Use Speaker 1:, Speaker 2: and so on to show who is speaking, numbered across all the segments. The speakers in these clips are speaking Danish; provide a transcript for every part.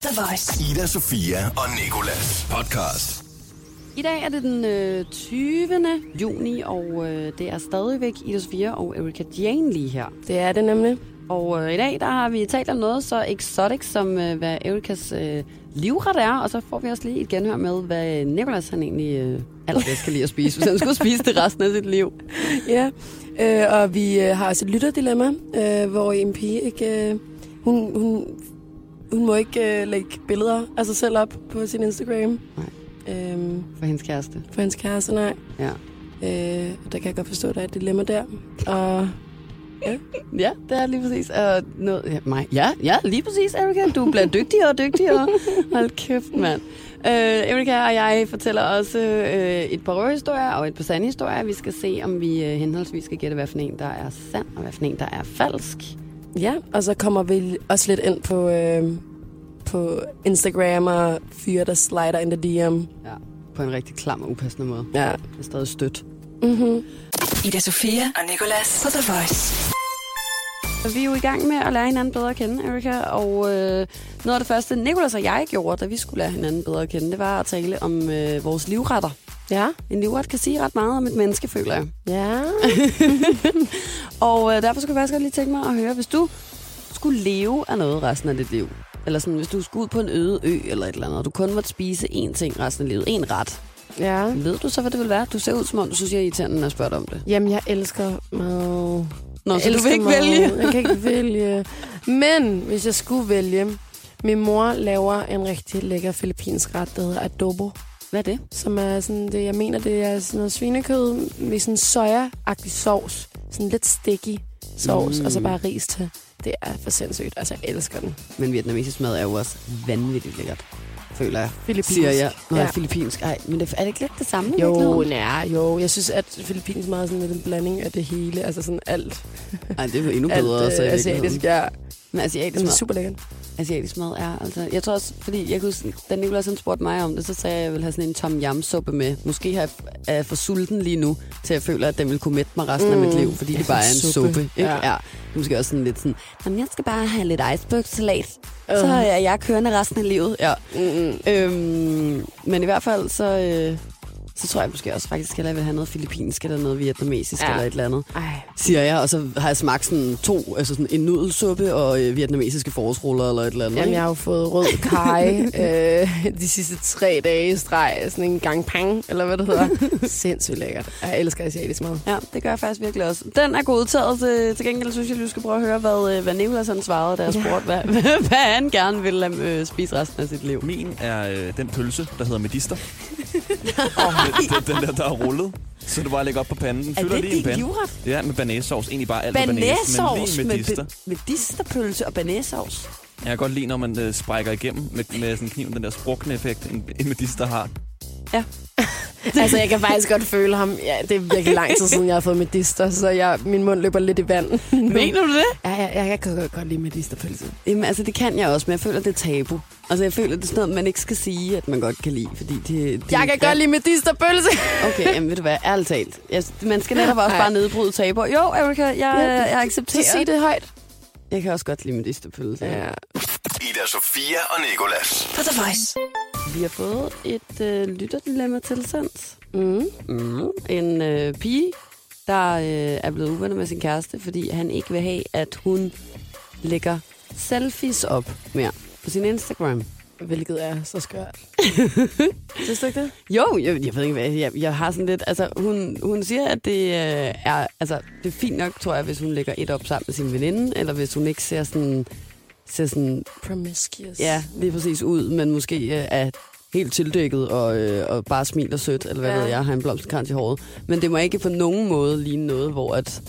Speaker 1: The Voice.
Speaker 2: Ida, Sofia og Nikolas podcast.
Speaker 3: I dag er det den øh, 20. juni, og øh, det er stadigvæk Ida Sofia og Erika Jane lige her.
Speaker 4: Det er det nemlig.
Speaker 3: Og øh, i dag der har vi talt om noget så exotic som, øh, hvad Erikas øh, livret er, og så får vi også lige et genhør med, hvad Nicolas han egentlig øh, allerbedst kan lide at spise, hvis han skulle spise det resten af sit liv.
Speaker 4: Ja, øh, og vi øh, har også et lytterdilemma, øh, hvor en pige ikke... Øh, hun, hun, hun må ikke øh, lægge billeder af sig selv op på sin Instagram.
Speaker 3: Nej.
Speaker 4: Øh,
Speaker 3: For hendes kæreste.
Speaker 4: for hans kæreste, nej.
Speaker 3: Ja,
Speaker 4: Øh, og der kan jeg godt forstå, at der er et dilemma der. Og
Speaker 3: ja det er lige præcis. Og noget, ja, mig. ja, ja, lige præcis, Erika. Du bliver dygtigere og dygtigere. Hold kæft, mand. Øh, Erika og jeg fortæller også øh, et par røverhistorier og et par sande historier. Vi skal se, om vi øh, henholdsvis skal gætte, hvad for en, der er sand, og hvad for en, der er falsk.
Speaker 4: ja, og så kommer vi også lidt ind på, øh, på Instagram og fyre, der slider in the DM.
Speaker 3: Ja, på en rigtig klam og upassende måde.
Speaker 4: Ja.
Speaker 3: Jeg er stadig stødt.
Speaker 1: Ida Sofia og Nicolas på The Voice.
Speaker 3: Vi er jo i gang med at lære hinanden bedre at kende, Erika, og øh, noget af det første, Nicolas og jeg gjorde, da vi skulle lære hinanden bedre at kende, det var at tale om øh, vores livretter.
Speaker 4: Ja.
Speaker 3: En livret kan sige ret meget om et menneske, føler jeg.
Speaker 4: Ja.
Speaker 3: Og øh, derfor skulle jeg faktisk godt lige tænke mig at høre, hvis du skulle leve af noget resten af dit liv, eller sådan, hvis du skulle ud på en øde ø eller et eller andet, og du kun måtte spise én ting resten af livet, én ret,
Speaker 4: Ja.
Speaker 3: ved du så, hvad det vil være? Du ser ud, som om du synes, jeg er irriterende, når jeg spørger dig om det.
Speaker 4: Jamen, jeg elsker mad.
Speaker 3: Nå,
Speaker 4: Jeg
Speaker 3: så du
Speaker 4: elsker
Speaker 3: vil ikke
Speaker 4: mad.
Speaker 3: vælge?
Speaker 4: Jeg kan ikke vælge. Men hvis jeg skulle vælge, min mor laver en rigtig lækker filippinsk ret, der hedder adobo,
Speaker 3: Hvad er det?
Speaker 4: som er sådan det, jeg mener, det er sådan noget svinekød med sådan soja-agtig sovs. Sådan lidt sticky sovs, mm. og så bare ris til. Det er for sindssygt. Altså, jeg elsker den.
Speaker 3: Men vietnamesisk mad er jo også vanvittigt lækkert, føler jeg.
Speaker 4: Filippinsk.
Speaker 3: Siger jeg. Nå, ja.
Speaker 4: Ja.
Speaker 3: filippinsk. Ej, men det, er det ikke lidt det samme? i
Speaker 4: Jo,
Speaker 3: virkeligheden?
Speaker 4: nej, jo. Jeg synes, at filippinsk mad er sådan lidt en blanding af det hele. Altså sådan alt.
Speaker 3: Ej, det er jo endnu
Speaker 4: alt
Speaker 3: bedre. Alt,
Speaker 4: øh,
Speaker 3: så
Speaker 4: asiatisk, ja.
Speaker 3: Men asiatisk
Speaker 4: Det er
Speaker 3: mad,
Speaker 4: super lækkert.
Speaker 3: asiatisk mad er altså... Jeg tror også, fordi jeg kunne, huske, da Nicolas han spurgte mig om det, så sagde jeg, at jeg ville have sådan en tom yam suppe med. Måske har jeg er jeg for sulten lige nu, til jeg føler, at den vil kunne mætte mig resten mm. af mit liv, fordi
Speaker 4: Ja,
Speaker 3: det bare er
Speaker 4: sådan
Speaker 3: en
Speaker 4: suppe.
Speaker 3: suppe. Ikke?
Speaker 4: Ja.
Speaker 3: Ja. ja. Det er Måske også sådan lidt sådan, jamen jeg skal bare have lidt icebergsalat, så er jeg kørende resten af livet. Ja.
Speaker 4: Mm-mm.
Speaker 3: Øhm, men i hvert fald, så, øh, så tror jeg måske også faktisk, at jeg vil have noget filippinsk eller noget vietnamesisk ja.
Speaker 4: Ja.
Speaker 3: eller et eller andet,
Speaker 4: Ej,
Speaker 3: siger jeg. Og så har jeg smagt sådan to, altså sådan en nudelsuppe og øh, vietnamesiske forårsruller eller et eller andet.
Speaker 4: Jamen,
Speaker 3: ikke?
Speaker 4: jeg har jo fået rød kaj øh, de sidste tre dage i streg. Sådan en gang pang, eller hvad det hedder. Sindssygt lækkert. Jeg elsker asiatisk mad.
Speaker 3: Ja, det gør jeg faktisk virkelig også. Den er godtaget. Til, til gengæld synes jeg, du skal prøve at høre, hvad, øh, hvad Nicolas han svarede, da jeg
Speaker 4: Ja.
Speaker 3: spurgte, hvad, hvad han gerne ville øh, spise resten af sit liv.
Speaker 5: Min er øh, den pølse, der hedder medister. den, den, den der, der er rullet. Så du bare lægger op på panden. Fylder lige en pande.
Speaker 3: livret?
Speaker 5: Ja, med banæssauce. Egentlig bare alt
Speaker 3: Banæsauce
Speaker 5: banæs, men lige medister.
Speaker 3: med, med medisterpølse og banæsauce.
Speaker 5: Jeg kan godt lide, når man øh, sprækker igennem med, med sådan kniven, den der sprukne effekt, en, en medister har.
Speaker 4: Altså, jeg kan faktisk godt føle ham. Ja, det er virkelig lang tid siden, jeg har fået medister, så jeg, min mund løber lidt i vand.
Speaker 3: Mener du det?
Speaker 4: Ja, jeg, jeg, jeg kan godt, godt lide medisterpølse.
Speaker 3: Jamen, altså, det kan jeg også, men jeg føler, det er tabu. Altså, jeg føler, det er sådan noget, man ikke skal sige, at man godt kan lide, fordi det... det
Speaker 4: Jeg kan godt lide medisterpølse.
Speaker 3: Okay, jamen, ved du hvad, ærligt talt. Jeg, man skal netop også
Speaker 4: Ej.
Speaker 3: bare nedbryde tabuer. Jo, Erika, jeg, øh, jeg, jeg
Speaker 4: Så
Speaker 3: accepterer.
Speaker 4: sig det højt.
Speaker 3: Jeg kan også godt lide medisterpølse. Ja.
Speaker 4: Ja.
Speaker 2: Ida, Sofia og Nikolas.
Speaker 1: På The Voice.
Speaker 3: Vi har fået et øh, lytterdilemma tilsendt.
Speaker 4: Mm.
Speaker 3: Mm. En øh, pige, der øh, er blevet uvenner med sin kæreste, fordi han ikke vil have, at hun lægger selfies op mere på sin Instagram.
Speaker 4: Hvilket er så skørt. Synes du ikke det?
Speaker 3: Jo, jeg, jeg ved ikke hvad, jeg, jeg har sådan lidt, altså hun, hun siger, at det øh, er, altså det er fint nok, tror jeg, hvis hun lægger et op sammen med sin veninde, eller hvis hun ikke ser sådan, ser sådan,
Speaker 4: Promiscuous.
Speaker 3: ja, lige præcis ud, men måske øh, er helt tildækket og, øh, og bare smiler sødt, eller hvad ja.
Speaker 4: Ja.
Speaker 3: ved jeg, har en blomsterkrans i håret. Men det må ikke på nogen måde ligne noget, hvor at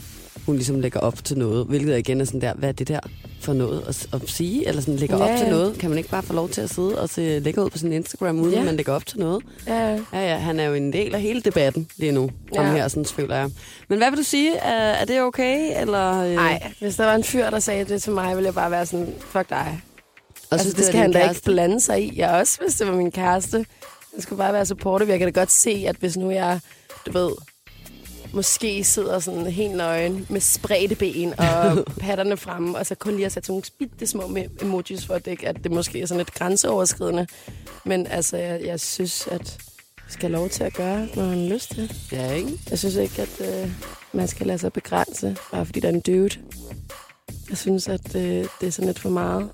Speaker 3: hun ligesom lægger op til noget, hvilket igen er sådan der, hvad er det der for noget at, s- at sige, eller sådan lægger
Speaker 4: Ja,
Speaker 3: op til
Speaker 4: ja.
Speaker 3: noget. Kan man ikke bare få lov til at sidde og se lægger ud på sin Instagram, uden
Speaker 4: Ja.
Speaker 3: at man lægger op til noget?
Speaker 4: ja.
Speaker 3: Ja, ja, han er jo en del af hele debatten lige nu, ja. om
Speaker 4: Ja.
Speaker 3: her, sådan føler jeg. Men hvad vil du sige? Er, er det okay, eller... øh,
Speaker 4: Nej, hvis der var en fyr, der sagde det til mig, ville jeg bare være sådan, fuck dig.
Speaker 3: og
Speaker 4: Altså,
Speaker 3: synes,
Speaker 4: det, det
Speaker 3: er
Speaker 4: skal han
Speaker 3: din
Speaker 4: da ikke
Speaker 3: kæreste?
Speaker 4: blande sig i. Jeg også, hvis det var min kæreste. Jeg skulle bare være supportive. Jeg kan da godt se, at hvis nu jeg, du ved, måske sidder sådan helt nøgen med spredte ben og patterne fremme, og så kun lige har sat sådan nogle bitte små me- emojis for at dække, at det måske er sådan lidt grænseoverskridende. Men altså, jeg, jeg synes, at vi skal have lov til at gøre, når man har lyst til.
Speaker 3: Ja, ikke?
Speaker 4: Jeg synes ikke, at øh, man skal lade sig begrænse, bare fordi der er en dude. Jeg synes, at øh, det er sådan lidt for meget.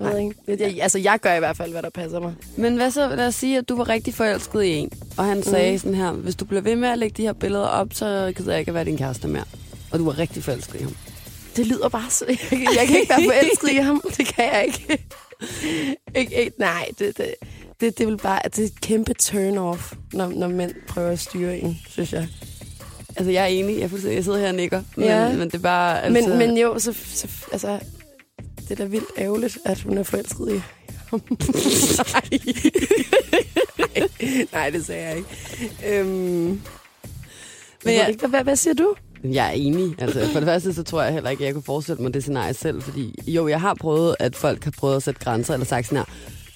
Speaker 4: Jeg ved ikke. Jeg, jeg, altså, jeg gør i hvert fald, hvad der passer mig.
Speaker 3: Men hvad så, lad os sige, at du var rigtig forelsket i en, og
Speaker 4: Mhm.
Speaker 3: han sagde sådan her, hvis du bliver ved med at lægge de her billeder op, så gider jeg ikke at være din kæreste mere. Og du var rigtig forelsket i ham.
Speaker 4: Det lyder bare så... Jeg, kan- jeg kan ikke være forelsket i ham. Det kan jeg ikke. ikke, ikke nej, det, det, det, det, vil bare, det er et kæmpe turn-off, når, når mænd prøver at styre en, synes jeg.
Speaker 3: Altså, jeg er enig. Jeg, er fuldstændig- jeg sidder her og nikker. Men,
Speaker 4: Ja.
Speaker 3: men det er bare... Altså,
Speaker 4: Altså... Men, men jo, så, så, altså, det er da vildt ærgerligt, at hun er forelsket i ham. Nej. Nej, det sagde jeg ikke. Øhm, men
Speaker 3: jeg-
Speaker 4: jeg... Ikke, hvad, hvad siger du?
Speaker 3: Jeg er enig. Altså, for det første, så tror jeg heller ikke, at jeg kunne forestille mig det scenarie selv. Fordi jo, jeg har prøvet, at folk har prøvet at sætte grænser, eller sagt sådan her,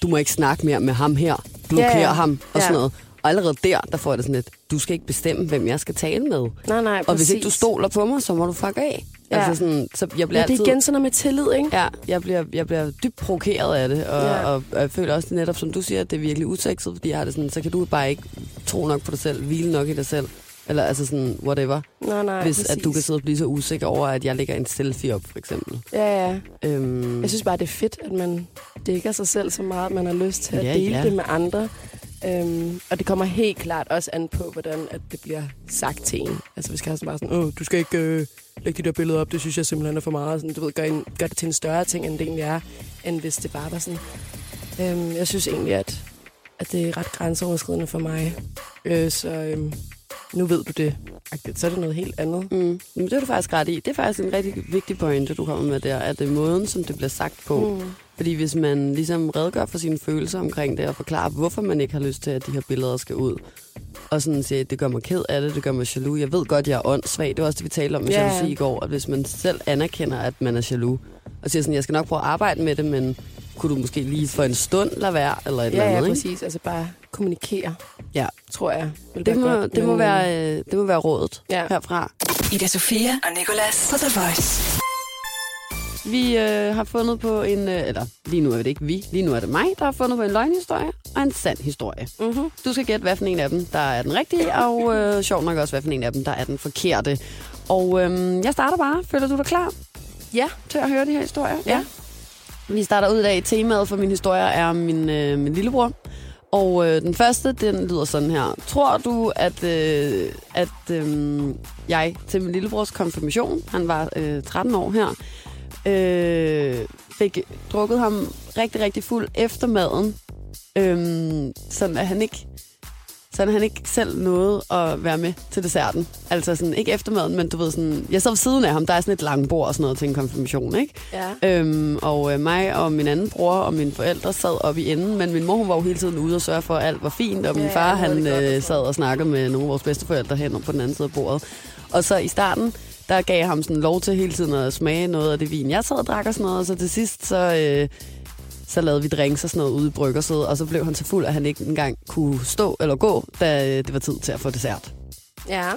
Speaker 3: du må ikke snakke mere med ham her, blokere
Speaker 4: Ja, ja.
Speaker 3: ham, og sådan
Speaker 4: Ja.
Speaker 3: noget. Og allerede der, der får jeg det sådan lidt, du skal ikke bestemme, hvem jeg skal tale med.
Speaker 4: Nej, nej,
Speaker 3: og hvis ikke
Speaker 4: præcis.
Speaker 3: du stoler på mig, så må du fuck af.
Speaker 4: Ja.
Speaker 3: Altså sådan, så jeg bliver
Speaker 4: Men det er
Speaker 3: altid...
Speaker 4: igen sådan noget med tillid, ikke?
Speaker 3: Ja, jeg bliver, jeg bliver dybt provokeret af det, og, ja.
Speaker 4: Ja.
Speaker 3: og, og jeg føler også netop, som du siger, at det er virkelig usekset, fordi jeg har det sådan, så kan du bare ikke tro nok på dig selv, hvile nok i dig selv, eller altså sådan, whatever,
Speaker 4: Nej, nej,
Speaker 3: hvis
Speaker 4: præcis.
Speaker 3: at du kan sidde og blive så usikker over, at jeg lægger en selfie op, for eksempel.
Speaker 4: Ja, ja.
Speaker 3: Øhm,
Speaker 4: Jeg synes bare, det er fedt, at man dækker sig selv så meget, at man har lyst til at
Speaker 3: Ja,
Speaker 4: ja, dele
Speaker 3: ja.
Speaker 4: ja. det med andre. Øhm, og det kommer helt klart også an på, hvordan at det bliver sagt til en. Altså, vi skal have sådan bare sådan, Åh, du skal ikke øh, lægge de der billeder op, det synes jeg simpelthen er for meget. Sådan, du ved, gør, en, gør det til en større ting, end det egentlig er, end hvis det bare var sådan. Øhm, jeg synes egentlig, at, at det er ret grænseoverskridende for mig. Øh, så øhm, nu ved du det. Agtigt. Så er det noget helt andet.
Speaker 3: Mm, men det er du faktisk ret i. Det er faktisk en rigtig vigtig pointe, du kommer med der, at det er måden, som det bliver sagt på. Mm. Fordi hvis man ligesom redegør for sine følelser omkring det, og forklarer, hvorfor man ikke har lyst til, at de her billeder skal ud, og sådan siger, det gør mig ked af det, det gør mig jaloux. Jeg ved godt, jeg er åndssvag. Det var også det, vi talte om med
Speaker 4: Ja.
Speaker 3: yeah. jalousi i går, at hvis man selv anerkender, at man er jaloux, og siger sådan, jeg skal nok prøve at arbejde med det, men kunne du måske lige for en stund lade være, eller et eller
Speaker 4: Ja, ja,
Speaker 3: andet, ikke?
Speaker 4: præcis. Altså bare kommunikere,
Speaker 3: Ja,
Speaker 4: tror jeg. vil
Speaker 3: det
Speaker 4: være
Speaker 3: må,
Speaker 4: godt,
Speaker 3: det, må
Speaker 4: men, øh,
Speaker 3: være, øh, det må være rådet
Speaker 4: Ja.
Speaker 3: herfra.
Speaker 1: Ida Sofia og Nicolas på The Voice.
Speaker 3: Vi øh, har fundet på en, øh, eller lige nu er det ikke vi, lige nu er det mig, der har fundet på en løgnhistorie og en sand historie. Mm-hmm. Du skal gætte, hvad for en af dem, der er den rigtige, og øh, sjov nok også, hvad for en af dem, der er den forkerte. Og øh, jeg starter bare. Føler du dig klar
Speaker 4: Ja,
Speaker 3: til at høre de her historier? Ja. Vi starter ud i dag. Temaet for min historie er min, øh, min lillebror. Og øh, den første, den lyder sådan her. Tror du, at, øh, at øh, jeg til min lillebrors konfirmation, han var øh, 13 år her, øh, fik drukket ham rigtig, rigtig fuld efter maden, øh, sådan at han ikke sådan han ikke selv nåede at være med til desserten. Altså sådan, ikke eftermaden, men du ved sådan, jeg sad ved siden af ham, der er sådan et langbord og sådan noget til en konfirmation, ikke?
Speaker 4: Ja.
Speaker 3: Øhm, og øh, mig og min anden bror og mine forældre sad oppe i enden, men min mor hun var jo hele tiden ude og sørge for, at alt var fint, og min
Speaker 4: Ja,
Speaker 3: far
Speaker 4: han havde
Speaker 3: han
Speaker 4: det godt og
Speaker 3: øh,
Speaker 4: sådan.
Speaker 3: sad og snakkede med nogle af vores bedsteforældre hen på den anden side af bordet. Og så i starten, der gav jeg ham sådan lov til hele tiden at smage noget af det vin, jeg sad og drak og sådan noget, og så til sidst så... Øh, så lavede vi drinks og sådan noget ude i bryggersædet, og så blev han så fuld, at han ikke engang kunne stå eller gå, da øh, det var tid til at få dessert.
Speaker 4: Ja.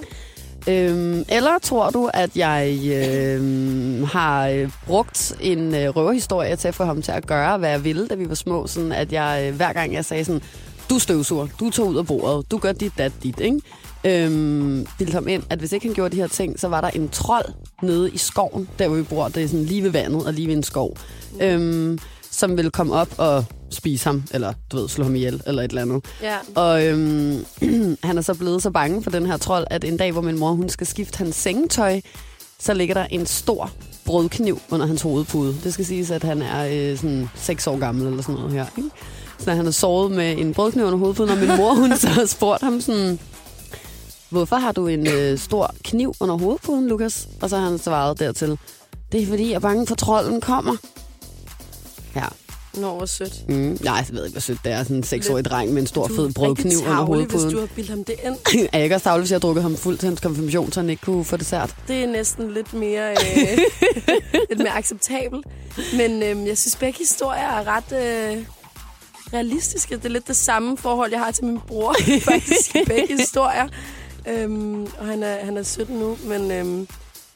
Speaker 3: Øhm, eller tror du, at jeg øhm, har øh, brugt en øh, røverhistorie til at få ham til at gøre, hvad jeg ville, da vi var små, sådan at jeg øh, hver gang jeg sagde sådan, du støvsuger, du tog ud af bordet, du gør dit, dat, dit, ikke? Øhm, bildte ham ind, at hvis ikke han gjorde de her ting, så var der en trold nede i skoven, der hvor vi bor, det er sådan lige ved vandet og lige ved en skov, øhm, som ville komme op og spise ham, eller du ved, slå ham ihjel, eller et eller andet.
Speaker 4: Ja.
Speaker 3: Og øhm, han er så blevet så bange for den her trold, at en dag, hvor min mor hun skal skifte hans sengetøj, så ligger der en stor brødkniv under hans hovedpude. Det skal siges, at han er øh, sådan 6 år gammel eller sådan noget her. Ikke? Så han har sovet med en brødkniv under hovedpuden, og min mor hun så har spurgt ham sådan, hvorfor har du en øh, stor kniv under hovedpuden, Lukas? Og så har han svaret dertil, det er fordi, jeg er bange for, at trolden kommer. Ja,
Speaker 4: Nå, hvor sødt.
Speaker 3: mm. Nej, jeg ved ikke, hvor sødt det er. Sådan en seksårig dreng med en stor
Speaker 4: Du er
Speaker 3: fed
Speaker 4: rigtig
Speaker 3: brødkniv under
Speaker 4: tarvelig,
Speaker 3: hovedpuden.
Speaker 4: hvis du har bildt ham det ind.
Speaker 3: er jeg ikke også tavle, hvis jeg har drukket ham fuld til hans konfirmation, så han ikke kunne få dessert?
Speaker 4: Det er næsten lidt mere, øh, lidt mere acceptabelt. Men øh, jeg synes, begge historier er ret øh, realistiske. Det er lidt det samme forhold, jeg har til min bror. Faktisk i begge historier. Øhm, og han er, han er 17 nu, men øhm,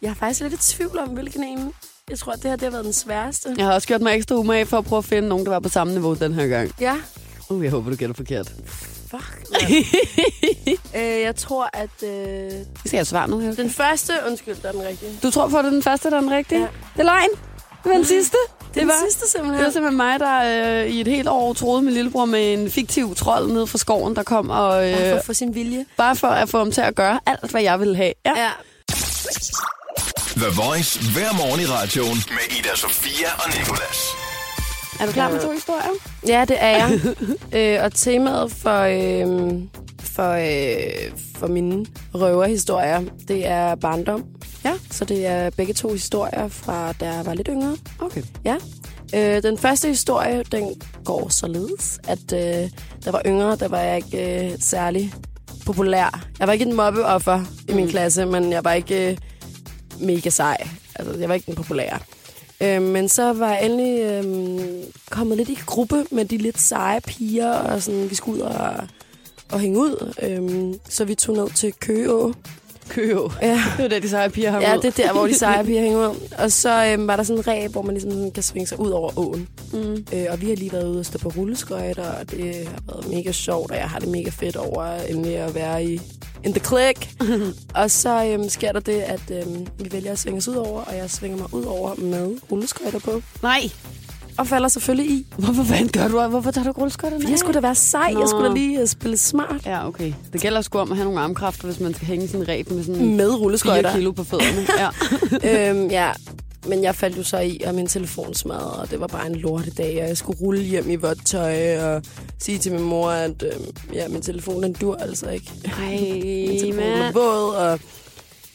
Speaker 4: jeg er faktisk lidt i tvivl om, hvilken en. Jeg tror, at det her det har været den sværeste.
Speaker 3: Jeg har også gjort mig ekstra umage for at prøve at finde nogen, der var på samme niveau den her gang.
Speaker 4: Ja.
Speaker 3: Uh, jeg håber, du gætter forkert.
Speaker 4: Fuck, mand. øh, jeg tror, at øh,
Speaker 3: Vi skal have svar nu, her.
Speaker 4: den første, undskyld, der er den rigtige.
Speaker 3: Du tror på, at det er den første, der er den rigtige?
Speaker 4: Ja.
Speaker 3: Det er løgn. Det var den sidste.
Speaker 4: Det var
Speaker 3: var,
Speaker 4: den sidste
Speaker 3: det var
Speaker 4: simpelthen.
Speaker 3: simpelthen mig, der øh, i et helt år troede min lillebror med en fiktiv trold nede fra skoven, der kom og...
Speaker 4: Ja,
Speaker 3: Øh,
Speaker 4: for, for sin vilje.
Speaker 3: bare for at få ham til at gøre alt, hvad jeg ville have. Ja.
Speaker 4: Ja.
Speaker 2: The Voice hver morgen i radioen med Ida Sofia og Nicolas.
Speaker 3: Er du klar med to historier?
Speaker 4: Ja, det er jeg. øh, og temaet for, øh, for, øh, for mine røverhistorier, det er barndom.
Speaker 3: Ja.
Speaker 4: Så det er begge to historier fra, da jeg var lidt yngre.
Speaker 3: Okay.
Speaker 4: Ja. Øh, den første historie, den går således, at øh, der var yngre, der var jeg ikke øh, særlig populær. Jeg var ikke en mobbeoffer i min klasse, men jeg var ikke øh, mega sej. Altså, jeg var ikke den populære. Øh, men så var jeg endelig øh, kommet lidt i gruppe med de lidt seje piger, og sådan, vi skulle ud og, og hænge ud. Øh, så vi tog ned til Køgeå.
Speaker 3: Køo.
Speaker 4: Ja.
Speaker 3: Det var det, de seje piger har
Speaker 4: Ja,
Speaker 3: med.
Speaker 4: det er der, hvor de seje piger hænger ud. Og så øhm, var der sådan en ræb, hvor man ligesom sådan kan svinge sig ud over åen. Mm. Øh, og vi har lige været ude og stå på rulleskøjter, og det har været mega sjovt, og jeg har det mega fedt over endelig at være i in the click. og så øhm, sker der det, at øhm, vi vælger at svinge os ud over, og jeg svinger mig ud over med rulleskøjter på.
Speaker 3: Nej.
Speaker 4: Og falder selvfølgelig i.
Speaker 3: Hvorfor fanden gør du? Hvorfor tager du rulleskøjterne
Speaker 4: Jeg skulle da være sej, jeg skulle da
Speaker 3: Nå.
Speaker 4: lige øh, spille smart.
Speaker 3: Ja, okay. Det gælder sgu om at have nogle armkræfter, hvis man skal hænge sådan en ræb med sådan
Speaker 4: Med
Speaker 3: 4
Speaker 4: rulleskøjter.
Speaker 3: kilo på fødderne. Ja.
Speaker 4: øhm, ja, men jeg faldt jo så i, og min telefon smadrede, og det var bare en lortedag, og jeg skulle rulle hjem i vådt tøj og sige til min mor, at øhm, ja, min telefon den dur altså ikke. Min
Speaker 3: Ej,
Speaker 4: telefon er
Speaker 3: mand.
Speaker 4: våd, og,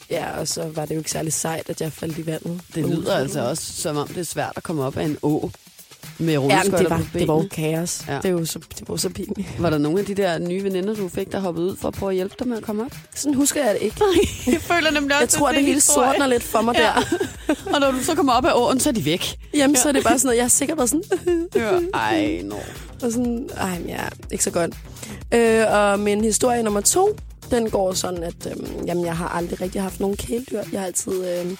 Speaker 4: ja, og så var det jo ikke særlig sejt, at jeg faldt i vandet.
Speaker 3: Det lyder altså også, som om det er svært at komme op af en å med
Speaker 4: Ja, men
Speaker 3: rulleskøjter
Speaker 4: det var,
Speaker 3: på
Speaker 4: det var jo
Speaker 3: benene.
Speaker 4: kaos.
Speaker 3: Ja.
Speaker 4: Ja. Det, er jo så, det var så pinligt.
Speaker 3: Var der nogle af de der nye veninder, du fik, der hoppede ud for at prøve at hjælpe dig med at komme op?
Speaker 4: Sådan husker jeg det ikke.
Speaker 3: Jeg føler nemlig også,
Speaker 4: Jeg tror, det hele sortner lidt for mig
Speaker 3: Ja.
Speaker 4: der.
Speaker 3: Og når du så kommer op af åen, så er de væk.
Speaker 4: Jamen, så er det bare sådan noget, jeg har sikkert været sådan,
Speaker 3: Ja. Ej, no.
Speaker 4: Og sådan, ej, men jeg er ikke så godt. Øh, og min historie nummer to, den går sådan, at øhm, jamen, jeg har aldrig rigtig haft nogen kæledyr. Jeg har altid øhm,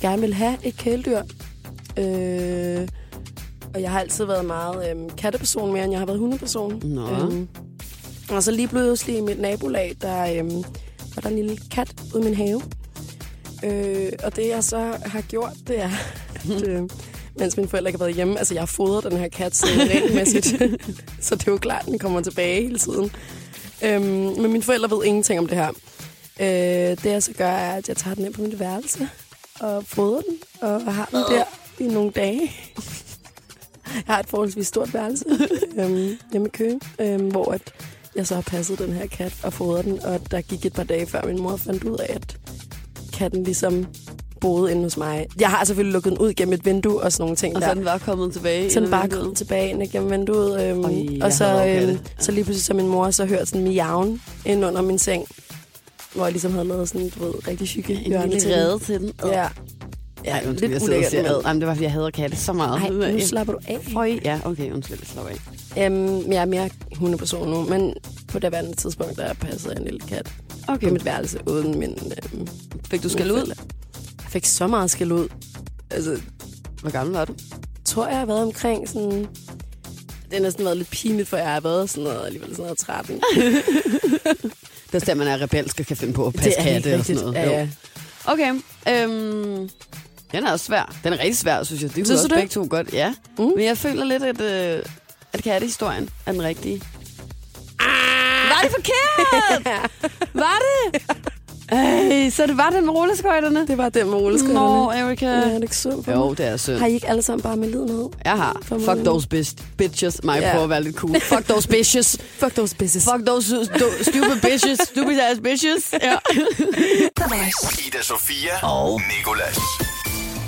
Speaker 4: gerne vil have et kæledyr. Øh, og jeg har altid været meget øhm, katteperson mere, end jeg har været hundeperson. Øhm,
Speaker 3: Nå.
Speaker 4: og så lige pludselig i mit nabolag, der øhm, var der en lille kat ude i min have. Øh, og det jeg så har gjort, det er, at øh, mens mine forældre ikke har været hjemme, altså jeg har fodret den her kat så regelmæssigt, så det er jo klart, den kommer tilbage hele tiden. Øhm, men mine forældre ved ingenting om det her. Øh, det jeg så gør, er, at jeg tager den ind på mit værelse og fodrer den, og har den der i nogle dage. Jeg har et forholdsvis stort værelse øhm, hjemme i Køge, øhm, hvor at jeg så har passet den her kat og fodret den, og der gik et par dage før min mor fandt ud af, at katten ligesom boede inde hos mig. Jeg har selvfølgelig lukket den ud gennem et vindue og sådan nogle ting
Speaker 3: Og så
Speaker 4: der.
Speaker 3: er den bare kommet tilbage.
Speaker 4: Så den
Speaker 3: ind ad
Speaker 4: bare
Speaker 3: vinduet.
Speaker 4: kom tilbage ind gennem vinduet. Øhm,
Speaker 3: Ej, jeg
Speaker 4: og så,
Speaker 3: hader
Speaker 4: øhm,
Speaker 3: katte.
Speaker 4: så lige pludselig så min mor så hørte sådan miauen ind under min seng. Hvor jeg ligesom havde lavet sådan, du ved, rigtig hygge
Speaker 3: En
Speaker 4: hjørne til
Speaker 3: lille
Speaker 4: den.
Speaker 3: rede til den.
Speaker 4: Ja.
Speaker 3: Ja,
Speaker 4: Ja,
Speaker 3: undskyld, jeg
Speaker 4: lidt
Speaker 3: sidder og
Speaker 4: ulækkert,
Speaker 3: siger
Speaker 4: men-
Speaker 3: ad. Jamen, det var, fordi jeg hader katte så meget.
Speaker 4: Ej, nu
Speaker 3: Jeg-
Speaker 4: slapper du af.
Speaker 3: Føj. Ja, okay, undskyld, slap af.
Speaker 4: Øhm, jeg er mere hundeperson nu, men på det andet tidspunkt, der passede jeg en lille kat på mit værelse uden min... Øhm,
Speaker 3: Fik du skal
Speaker 4: mine
Speaker 3: ud?
Speaker 4: forældre. Jeg fik så meget skal ud. Altså,
Speaker 3: Hvor gammel var du?
Speaker 4: tror jeg, jeg har været omkring sådan... Det har næsten været lidt pinligt, for jeg har været sådan noget, alligevel sådan noget 13.
Speaker 3: Det er der, man er rebelsk og kan finde på at passe
Speaker 4: helt
Speaker 3: katte og sådan
Speaker 4: rigtigt.
Speaker 3: noget.
Speaker 4: Ja,
Speaker 3: Jo.
Speaker 4: ja.
Speaker 3: Okay, øhm, den er også svær. Den er rigtig svær, synes jeg. Det kunne
Speaker 4: Synes du
Speaker 3: også
Speaker 4: det?
Speaker 3: begge to godt. Ja, mm.
Speaker 4: Mm.
Speaker 3: men jeg føler lidt, at, øh, at kattehistorien er den rigtige. Ah! Var det forkert? var det? Ej, så det var den med rulleskøjterne?
Speaker 4: Det var den med rulleskøjterne.
Speaker 3: Nå, Erika.
Speaker 4: Ja, det er ikke sundt for
Speaker 3: Jo,
Speaker 4: mig.
Speaker 3: det er synd.
Speaker 4: Har I ikke alle sammen bare med lidenhed?
Speaker 3: Jeg har.
Speaker 4: For
Speaker 3: Fuck
Speaker 4: mig.
Speaker 3: those bitch, bitches. Mig
Speaker 4: Ja.
Speaker 3: prøver at være lidt cool. Fuck those bitches.
Speaker 4: Fuck those bitches.
Speaker 3: Fuck those stu- stu- stupid bitches. Stupid ass bitches. Ja.
Speaker 1: The Voice.
Speaker 2: Ida Sofia og Nicolas.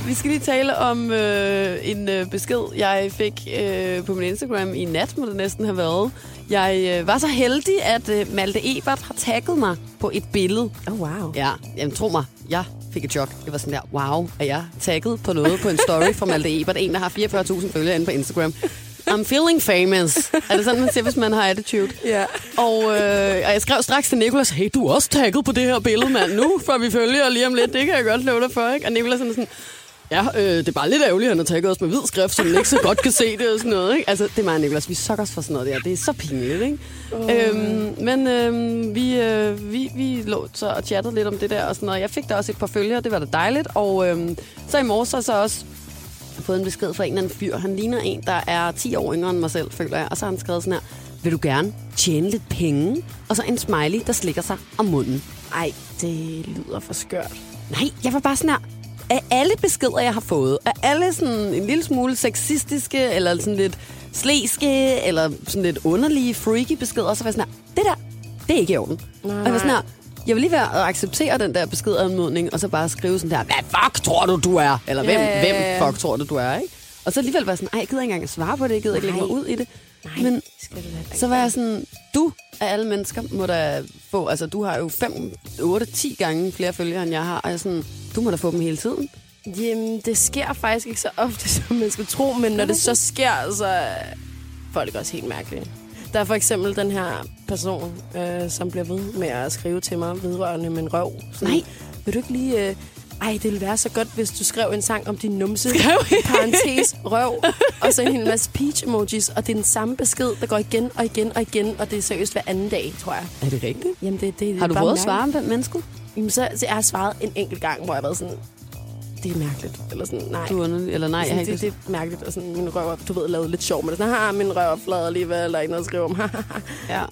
Speaker 3: Vi skal lige tale om øh, en øh, besked, jeg fik øh, på min Instagram i nat, må det næsten have været. Jeg øh, var så heldig, at øh, Malte Ebert har tagget mig på et billede.
Speaker 4: Oh, wow.
Speaker 3: Ja, jamen tro mig, jeg fik et chok. Jeg var sådan der, wow, er jeg tagget på noget på en story fra Malte Ebert, en, der har 44.000 følgere inde på Instagram. I'm feeling famous. Er det sådan, man siger, hvis man har attitude?
Speaker 4: Ja.
Speaker 3: Og, øh, og jeg skrev straks til Nikolas, hey, du er også tagget på det her billede, mand. Nu får vi følger lige om lidt, det kan jeg godt love dig for, ikke? Og Nikolas er sådan, ja, øh, det er bare lidt ærgerligt, at han har tagget os med hvid skrift, så man ikke så godt kan se det og sådan noget, ikke? Altså, det er mig og Nikolas, vi sukker os for sådan noget der. Det er så pinligt, ikke? Oh. Øhm, men øh, vi, øh, vi, vi lå så og chattede lidt om det der og sådan noget. Jeg fik da også et par følgere, det var da dejligt. Og øh, så i morges så, så også har fået en besked fra en eller anden fyr. Han ligner en, der er 10 år yngre end mig selv, føler jeg. Og så har han skrevet sådan her, vil du gerne tjene lidt penge? Og så en smiley, der slikker sig om munden. Ej, det lyder for skørt. Nej, jeg var bare sådan her, af alle beskeder, jeg har fået, af alle sådan en lille smule sexistiske, eller sådan lidt slæske, eller sådan lidt underlige, freaky beskeder, så var jeg sådan her, det der, det er ikke i orden. Nej. Og jeg var sådan her, jeg vil lige være at acceptere den der beskedanmodning, og så bare skrive sådan der, hvad fuck tror du, du er? Eller hvem,
Speaker 4: Ja, ja,
Speaker 3: hvem
Speaker 4: ja.
Speaker 3: fuck tror du, du er, ikke? Og så alligevel var jeg sådan, ej, jeg gider ikke engang at svare på det, jeg gider ikke lægge mig ud i det. Nej, Men
Speaker 6: skal du da ikke
Speaker 3: så var jeg sådan, du af alle mennesker må da få, altså du har jo 5, 8, 10 gange flere følgere, end jeg har, og jeg er sådan, du må da få dem hele tiden.
Speaker 4: Jamen, det sker faktisk ikke så ofte, som man skulle tro, men når det så sker, så er folk også helt mærkelige. Der er for eksempel den her person, øh, som bliver ved med at skrive til mig vedrørende min røv. Sådan,
Speaker 3: Nej.
Speaker 4: Vil du ikke lige... Øh, ej, det ville være så godt, hvis du skrev en sang om din numse, i parentes, røv, og så en hel masse peach emojis, og det er den samme besked, der går igen og igen og igen, og det er seriøst hver anden dag, tror jeg.
Speaker 3: Er det rigtigt?
Speaker 4: Jamen, det, det, det
Speaker 3: Har du
Speaker 4: bare
Speaker 3: prøvet at
Speaker 4: mærkeligt.
Speaker 3: svare om fem mennesker?
Speaker 4: Jamen, så, så jeg har svaret en enkelt gang, hvor jeg har været sådan, det er mærkeligt, eller sådan, nej.
Speaker 3: Du er underlig, eller nej, jeg har
Speaker 4: Sådan,
Speaker 3: ikke
Speaker 4: Altså, det, det er mærkeligt, og sådan, min røv er, du ved, lavet lidt sjov, men sådan, har min røv er flad alligevel, der er ikke noget at skrive om.
Speaker 3: Ja.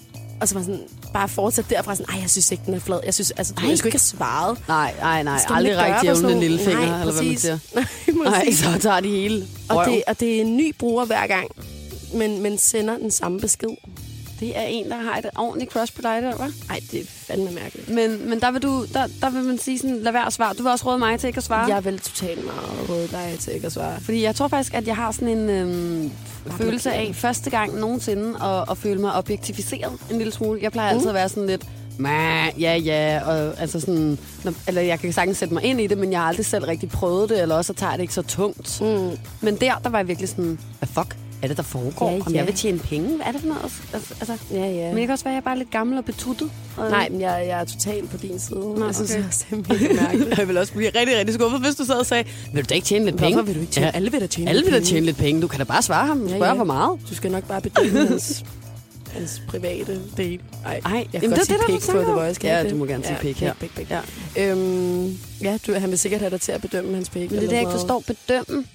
Speaker 4: og så var jeg sådan, bare fortsat derfra, sådan, ej, jeg synes ikke, den er flad. Jeg synes, altså, du,
Speaker 3: Ej.
Speaker 4: jeg skulle ikke have svaret.
Speaker 3: Nej, nej, nej.
Speaker 4: Skal man
Speaker 3: Aldrig
Speaker 4: ikke gøre
Speaker 3: rigtig
Speaker 4: på sådan
Speaker 3: jævne
Speaker 4: nogle-
Speaker 3: lillefinger,
Speaker 4: Nej,
Speaker 3: eller hvad man
Speaker 4: præcis.
Speaker 3: siger.
Speaker 4: Nej,
Speaker 3: Nej,
Speaker 4: præcis.
Speaker 3: så tager de hele
Speaker 4: Og
Speaker 3: røven.
Speaker 4: det, og det er en ny bruger hver gang, men, men sender den samme besked.
Speaker 3: det er en, der har et ordentligt crush på dig der, hva'?
Speaker 4: Nej, det er fandme mærkeligt.
Speaker 3: Men, men der, vil du, der, der vil man sige sådan, lad være at svare. Du vil også råde mig til ikke at svare.
Speaker 4: Jeg vil totalt meget råde dig til ikke at svare.
Speaker 3: Fordi jeg tror faktisk, at jeg har sådan en øhm, følelse af første gang nogensinde at, at føle mig objektificeret en lille smule. Jeg plejer altid at være sådan lidt, "Mæh, ja, ja, og altså sådan, når, eller jeg kan sagtens sætte mig ind i det, men jeg har aldrig selv rigtig prøvet det, eller også så tager jeg det ikke så tungt. Mm. Men der, der var jeg virkelig sådan, hvad fuck er det, der foregår?
Speaker 4: Ja,
Speaker 3: Om
Speaker 4: ja.
Speaker 3: jeg vil tjene penge? Hvad er det for noget? Altså, altså,
Speaker 4: Ja, ja.
Speaker 3: Men det kan også være, at jeg bare er lidt gammel og betuttet. Og
Speaker 4: Nej, men jeg, jeg er totalt på din side. Nå, jeg synes
Speaker 3: okay.
Speaker 4: også, det er mega mærkeligt.
Speaker 3: jeg ville også blive rigtig, rigtig skuffet, hvis du sad og sagde, vil du da ikke tjene lidt penge?
Speaker 4: Hvorfor vil du ikke tjene?
Speaker 3: Ja.
Speaker 4: Alle vil da tjene
Speaker 3: Alle vil da
Speaker 4: penge.
Speaker 3: tjene lidt penge. Du kan da bare svare ham. Spørg, ja, ja. hvor meget.
Speaker 4: Du skal nok bare bedømme hans, hans private del. Nej,
Speaker 3: Ej,
Speaker 4: jeg kan
Speaker 3: jamen,
Speaker 4: godt
Speaker 3: det
Speaker 4: sige
Speaker 3: er det,
Speaker 4: pik
Speaker 3: der du
Speaker 4: på
Speaker 3: snakker
Speaker 4: The
Speaker 3: om.
Speaker 4: Voice, kan
Speaker 3: Ja,
Speaker 4: jeg ikke
Speaker 3: du må
Speaker 4: det?
Speaker 3: gerne sige
Speaker 4: ja,
Speaker 3: pik, ja.
Speaker 4: Pik, pik,
Speaker 3: Ja.
Speaker 4: Øhm, ja, du, han vil sikkert have dig til at bedømme hans pik.
Speaker 3: Men det er det, jeg ikke forstår. Bedømme.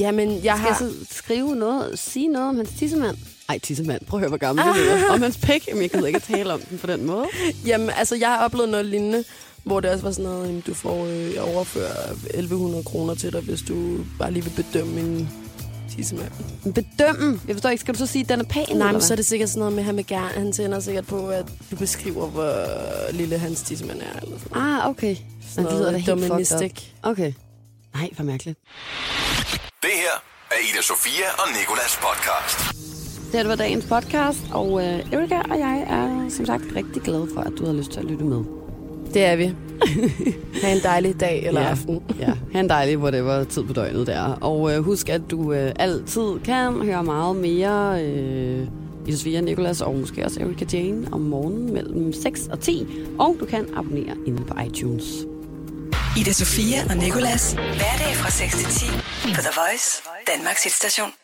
Speaker 4: Jamen, jeg
Speaker 3: Skal jeg
Speaker 4: har...
Speaker 3: så skrive noget, sige noget om hans tissemand? Ah. Ej, tissemand. Prøv at høre, hvor gammel det er. Om hans pæk. Jamen, jeg gider ikke at tale om den på den måde.
Speaker 4: Jamen, altså, jeg har oplevet noget lignende, hvor det også var sådan noget, jamen, du får øh, jeg overfører 1100 kroner til dig, hvis du bare lige vil bedømme min tissemand.
Speaker 3: Men Bedømme. Jeg forstår ikke. Skal du så sige, at den er pæn?
Speaker 4: Nej, men så er det sikkert sådan noget med, at han, vil gerne, han tænder sikkert på, at du beskriver, hvor lille hans tissemand er. Eller sådan noget.
Speaker 3: Ah, okay. Sådan det lyder da helt fucked up. Okay. Nej, hvor mærkeligt.
Speaker 2: Det her er Ida Sofia og Nikolas podcast.
Speaker 3: Det var dagens podcast, og øh, Erika og jeg er som sagt rigtig glade for, at du har lyst til at lytte med.
Speaker 4: Det er vi. ha' en dejlig dag eller ja. aften.
Speaker 3: Ja, have en dejlig whatever tid på døgnet der. Og øh, husk, at du øh, altid kan høre meget mere øh, i Sofia Nicolas og måske også Erika Jane om morgenen mellem 6 og 10. Og du kan abonnere inde på iTunes.
Speaker 1: Ida Sofia og Nikolas. Hverdag fra 6 til 10 på The Voice, Danmarks hitstation.